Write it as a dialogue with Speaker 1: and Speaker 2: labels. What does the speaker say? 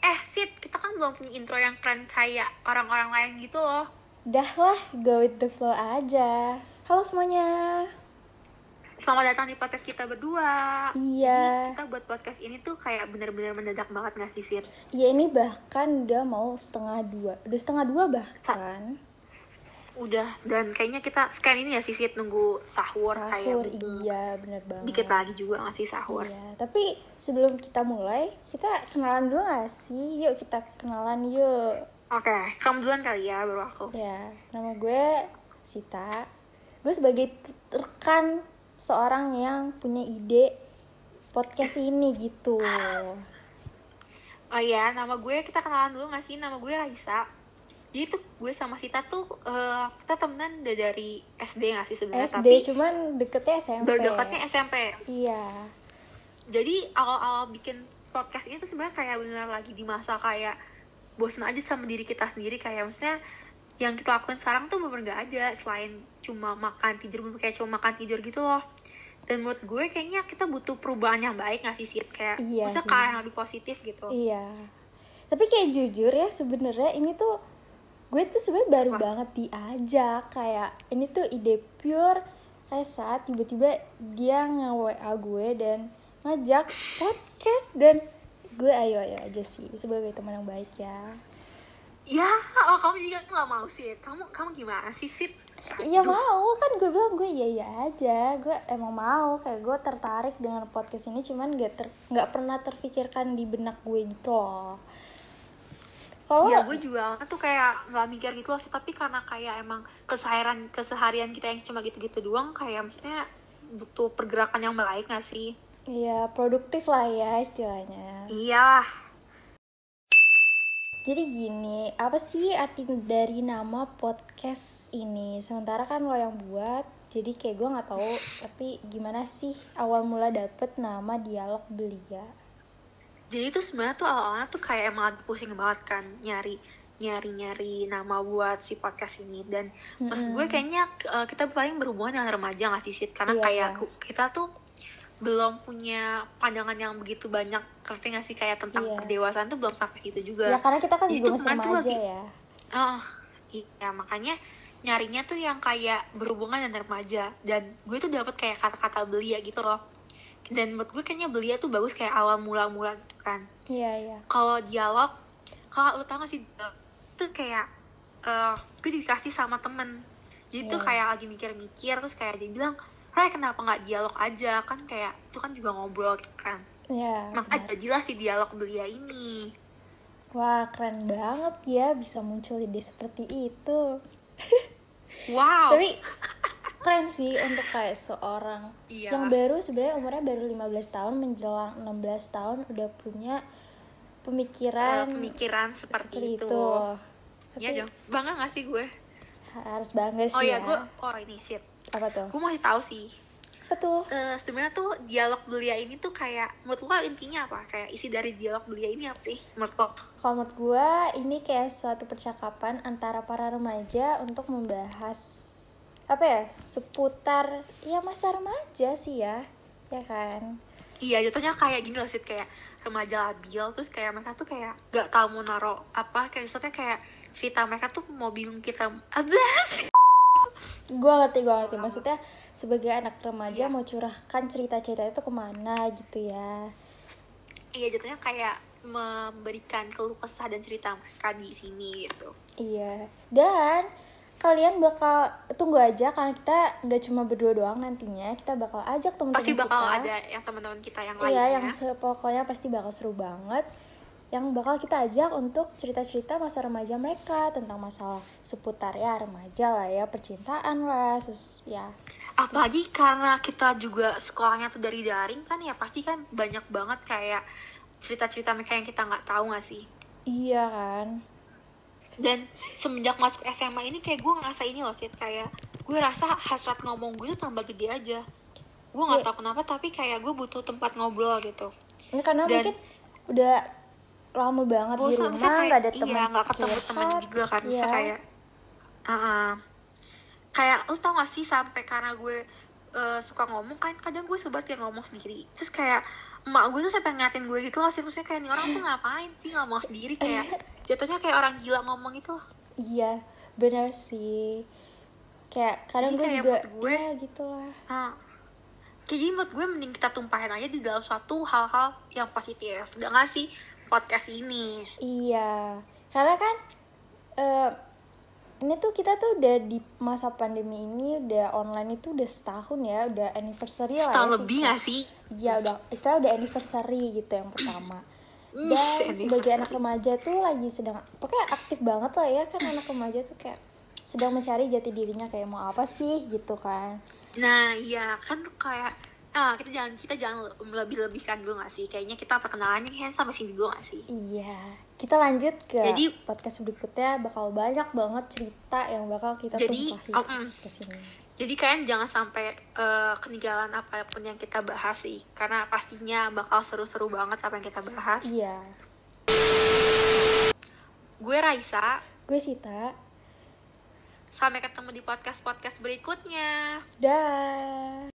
Speaker 1: Eh, kan belum punya intro yang keren kayak orang-orang lain gitu loh.
Speaker 2: Dah lah, go with the flow aja. Halo semuanya.
Speaker 1: Selamat datang di podcast kita berdua. Jadi
Speaker 2: Iya.
Speaker 1: kita buat podcast ini tuh kayak bener-bener mendadak banget nggak sih, Sir?
Speaker 2: Ya ini bahkan udah mau setengah dua. Udah setengah dua bahkan.
Speaker 1: Udah, dan kayaknya kita sekalian ini ya sih, Sir, nunggu sahur, kayak
Speaker 2: Sahur,
Speaker 1: mumpung
Speaker 2: iya bener banget.
Speaker 1: Dikit lagi juga nggak sih sahur?
Speaker 2: Iya, tapi sebelum kita mulai, kita kenalan dulu gak sih? Yuk kita kenalan yuk.
Speaker 1: Oke, kamu duluan kali ya, baru aku.
Speaker 2: Ya, nama gue Sita. Gue sebagai rekan seorang yang punya ide podcast ini gitu.
Speaker 1: Oh iya, nama gue kita kenalan dulu nggak sih? Nama gue Raisa. Jadi tuh gue sama Sita tuh eh, kita temenan udah dari SD nggak sih sebenarnya?
Speaker 2: SD
Speaker 1: Ah, Tapi
Speaker 2: cuman deketnya SMP.
Speaker 1: baru dekatnya SMP.
Speaker 2: Iya.
Speaker 1: jadi awal-awal bikin podcast ini tuh sebenarnya kayak benar lagi di masa kayak bosen aja sama diri kita sendiri kayak maksudnya yang kita lakuin sekarang tuh bener gak ada selain cuma makan tidur bener kayak cuma makan tidur gitu loh dan menurut gue kayaknya kita butuh perubahan yang baik nggak sih Sid? kayak
Speaker 2: Iya
Speaker 1: maksudnya
Speaker 2: sih.
Speaker 1: kayak yang lebih positif gitu
Speaker 2: Iya. Tapi kayak jujur ya sebenarnya ini tuh gue tuh sebenarnya baru
Speaker 1: Apa?
Speaker 2: banget diajak kayak ini tuh ide pure Resa tiba-tiba dia nge-WA gue dan ngajak podcast dan gue ayo ayo aja sih sebagai teman yang baik ya.
Speaker 1: ya oh kamu juga nggak mau Sid. kamu kamu gimana sih Sid?
Speaker 2: Iya mau kan gue bilang gue iya iya aja gue emang mau kayak gue tertarik dengan podcast ini cuman gak ter nggak pernah terfikirkan di benak gue gitu loh. Kalau
Speaker 1: Iya, gue juga awalnya tuh kayak nggak mikir gitu loh sih, tapi karena kayak emang keseharian keseharian kita yang cuma gitu-gitu doang, kayak maksudnya butuh pergerakan yang baik nggak sih?
Speaker 2: Iya, produktif lah ya istilahnya.
Speaker 1: Iya,
Speaker 2: Jadi gini, apa sih arti dari nama podcast ini? Sementara kan lo yang buat, jadi kayak gue nggak tahu. Tapi gimana sih awal mula dapet nama dialog belia?
Speaker 1: jadi tuh sebenarnya tuh awalnya tuh kayak emang pusing banget kan nyari nyari nyari nama buat si podcast ini dan maksud gue kayaknya eh, kita paling berhubungan dengan remaja nggak sih Sid? karena
Speaker 2: Iya.
Speaker 1: kayak ku- kita tuh belum punya pandangan yang begitu banyak ngerti nggak sih kayak tentang
Speaker 2: Iya.
Speaker 1: kedewasaan tuh belum sampai situ juga
Speaker 2: Ya karena kita kan
Speaker 1: Jadi
Speaker 2: juga
Speaker 1: tuh
Speaker 2: masih
Speaker 1: kemarin tuh
Speaker 2: remaja
Speaker 1: lagi-
Speaker 2: ya.
Speaker 1: Oh, iya makanya nyarinya tuh yang kayak berhubungan dengan remaja dan gue tuh dapet kayak kata-kata belia gitu loh dan menurut gue kayaknya belia tuh bagus kayak awal mula-mula gitu kan
Speaker 2: Iya iya.
Speaker 1: kalau dialog kalau lu tau gak sih dialog tuh kayak eh gue dikasih sama temen jadi tuh
Speaker 2: Iya.
Speaker 1: kayak lagi mikir-mikir terus kayak dia bilang Ray kenapa nggak dialog aja kan kayak itu kan juga ngobrol gitu kan
Speaker 2: Iya. benar.
Speaker 1: makanya jadilah si dialog belia ini
Speaker 2: Wah keren banget ya bisa muncul ide seperti itu.
Speaker 1: wow
Speaker 2: tapi keren sih untuk kayak seorang
Speaker 1: Iya.
Speaker 2: yang baru sebenarnya umurnya baru 15 tahun menjelang 16 tahun udah punya
Speaker 1: eh,
Speaker 2: pemikiran
Speaker 1: pemikiran
Speaker 2: kan seperti
Speaker 1: Eh, seperti,
Speaker 2: itu.
Speaker 1: itu.
Speaker 2: Tapi
Speaker 1: Iya dong, bangga gak sih gue?
Speaker 2: harus bangga sih
Speaker 1: Oh iya,
Speaker 2: ya.
Speaker 1: gue, oh ini sip.
Speaker 2: Apa tuh?
Speaker 1: Gue masih tahu sih.
Speaker 2: Apa tuh?
Speaker 1: Eh Sebenarnya tuh dialog belia ini tuh kayak, menurut lo intinya apa? Kayak isi dari dialog belia ini apa sih? Menurut lo?
Speaker 2: Kalau menurut gue ini kayak suatu percakapan antara para remaja untuk membahas apa ya seputar ya masa remaja sih ya ya kan
Speaker 1: Iya, jatuhnya kayak gini loh Sid, kayak remaja labil, terus kayak mereka tuh kayak gak tahu mau naro apa, kayak misalnya kayak cerita mereka tuh mau bingung kita, aduh sih.
Speaker 2: gue ngerti gue ngerti maksudnya sebagai anak
Speaker 1: Iya.
Speaker 2: remaja mau curahkan cerita-cerita itu kemana gitu ya
Speaker 1: Iya, jatuhnya kayak memberikan keluh kesah dan cerita mereka di sini gitu.
Speaker 2: iya dan kalian bakal tunggu aja karena kita nggak cuma berdua doang nantinya kita bakal ajak teman-teman
Speaker 1: Pasti bakal
Speaker 2: kita.
Speaker 1: ada yang teman-teman kita yang ya. lainnya.
Speaker 2: iya yang se- pokoknya pasti bakal seru banget yang bakal kita ajak untuk cerita-cerita masa remaja mereka tentang masalah seputar ya remaja lah ya percintaan lah sus ya
Speaker 1: apalagi karena kita juga sekolahnya tuh dari daring kan ya pasti kan banyak banget kayak cerita-cerita mereka yang kita nggak tahu nggak sih
Speaker 2: iya kan
Speaker 1: dan semenjak masuk SMA ini kayak gue ngerasa ini loh sih kayak gue rasa hasrat ngomong gue tuh tambah gede aja gue nggak
Speaker 2: Iya.
Speaker 1: tahu kenapa tapi kayak gue butuh tempat ngobrol gitu
Speaker 2: Ini karena
Speaker 1: Dan-
Speaker 2: mungkin udah lama banget di
Speaker 1: bosan
Speaker 2: rumah
Speaker 1: Oh, misalnya kayak
Speaker 2: nggak ada teman.
Speaker 1: iya nggak ketemu teman
Speaker 2: curhat.
Speaker 1: juga kan bisa
Speaker 2: Iya.
Speaker 1: kayak uh-uh. kayak lu tau eh, gak sih sampai karena gue uh, suka ngomong kan kadang gue sobat yang ngomong sendiri terus kayak emak gue tuh sampai ngatin gue gitu loh sih maksudnya kayak nih orang tuh ngapain sih ngomong sendiri kayak jatuhnya kayak orang gila ngomong itu loh
Speaker 2: iya bener sih kayak kadang
Speaker 1: Jadi
Speaker 2: gue
Speaker 1: Iya, kayak
Speaker 2: juga
Speaker 1: mood gue-
Speaker 2: ya gitu lah
Speaker 1: Nah, kayak jadi menurut gue mending kita tumpahin aja di dalam suatu hal-hal yang positif udah gak sih podcast ini
Speaker 2: Iya, karena kan eh, ini tuh kita tuh udah di masa pandemi ini udah online itu udah setahun ya, udah anniversary lah. ya
Speaker 1: setahun
Speaker 2: sih.
Speaker 1: lebih gak sih
Speaker 2: Iya udah, istilah udah anniversary gitu yang pertama.
Speaker 1: Ih,
Speaker 2: Dan sebagai
Speaker 1: anniversary.
Speaker 2: anak remaja tuh lagi sedang, pokoknya aktif banget lah ya kan anak remaja tuh kayak sedang mencari jati dirinya kayak mau apa sih gitu kan.
Speaker 1: nah iya kan kayak ah kita jangan kita jangan lebih lebihkan dulu gak sih kayaknya kita perkenalannya kayak sampai sini dulu gak sih
Speaker 2: Iya, kita lanjut ke
Speaker 1: Jadi-
Speaker 2: podcast berikutnya bakal banyak banget cerita yang bakal kita
Speaker 1: Jadi,
Speaker 2: tumpahin
Speaker 1: oh, mm.
Speaker 2: ke sini.
Speaker 1: jadi kalian jangan sampai eh, ketinggalan apapun yang kita bahas sih karena pastinya bakal seru-seru banget apa yang kita bahas
Speaker 2: Iya,
Speaker 1: gue Raisa
Speaker 2: gue Sita.
Speaker 1: sampai ketemu di podcast podcast berikutnya
Speaker 2: Dah.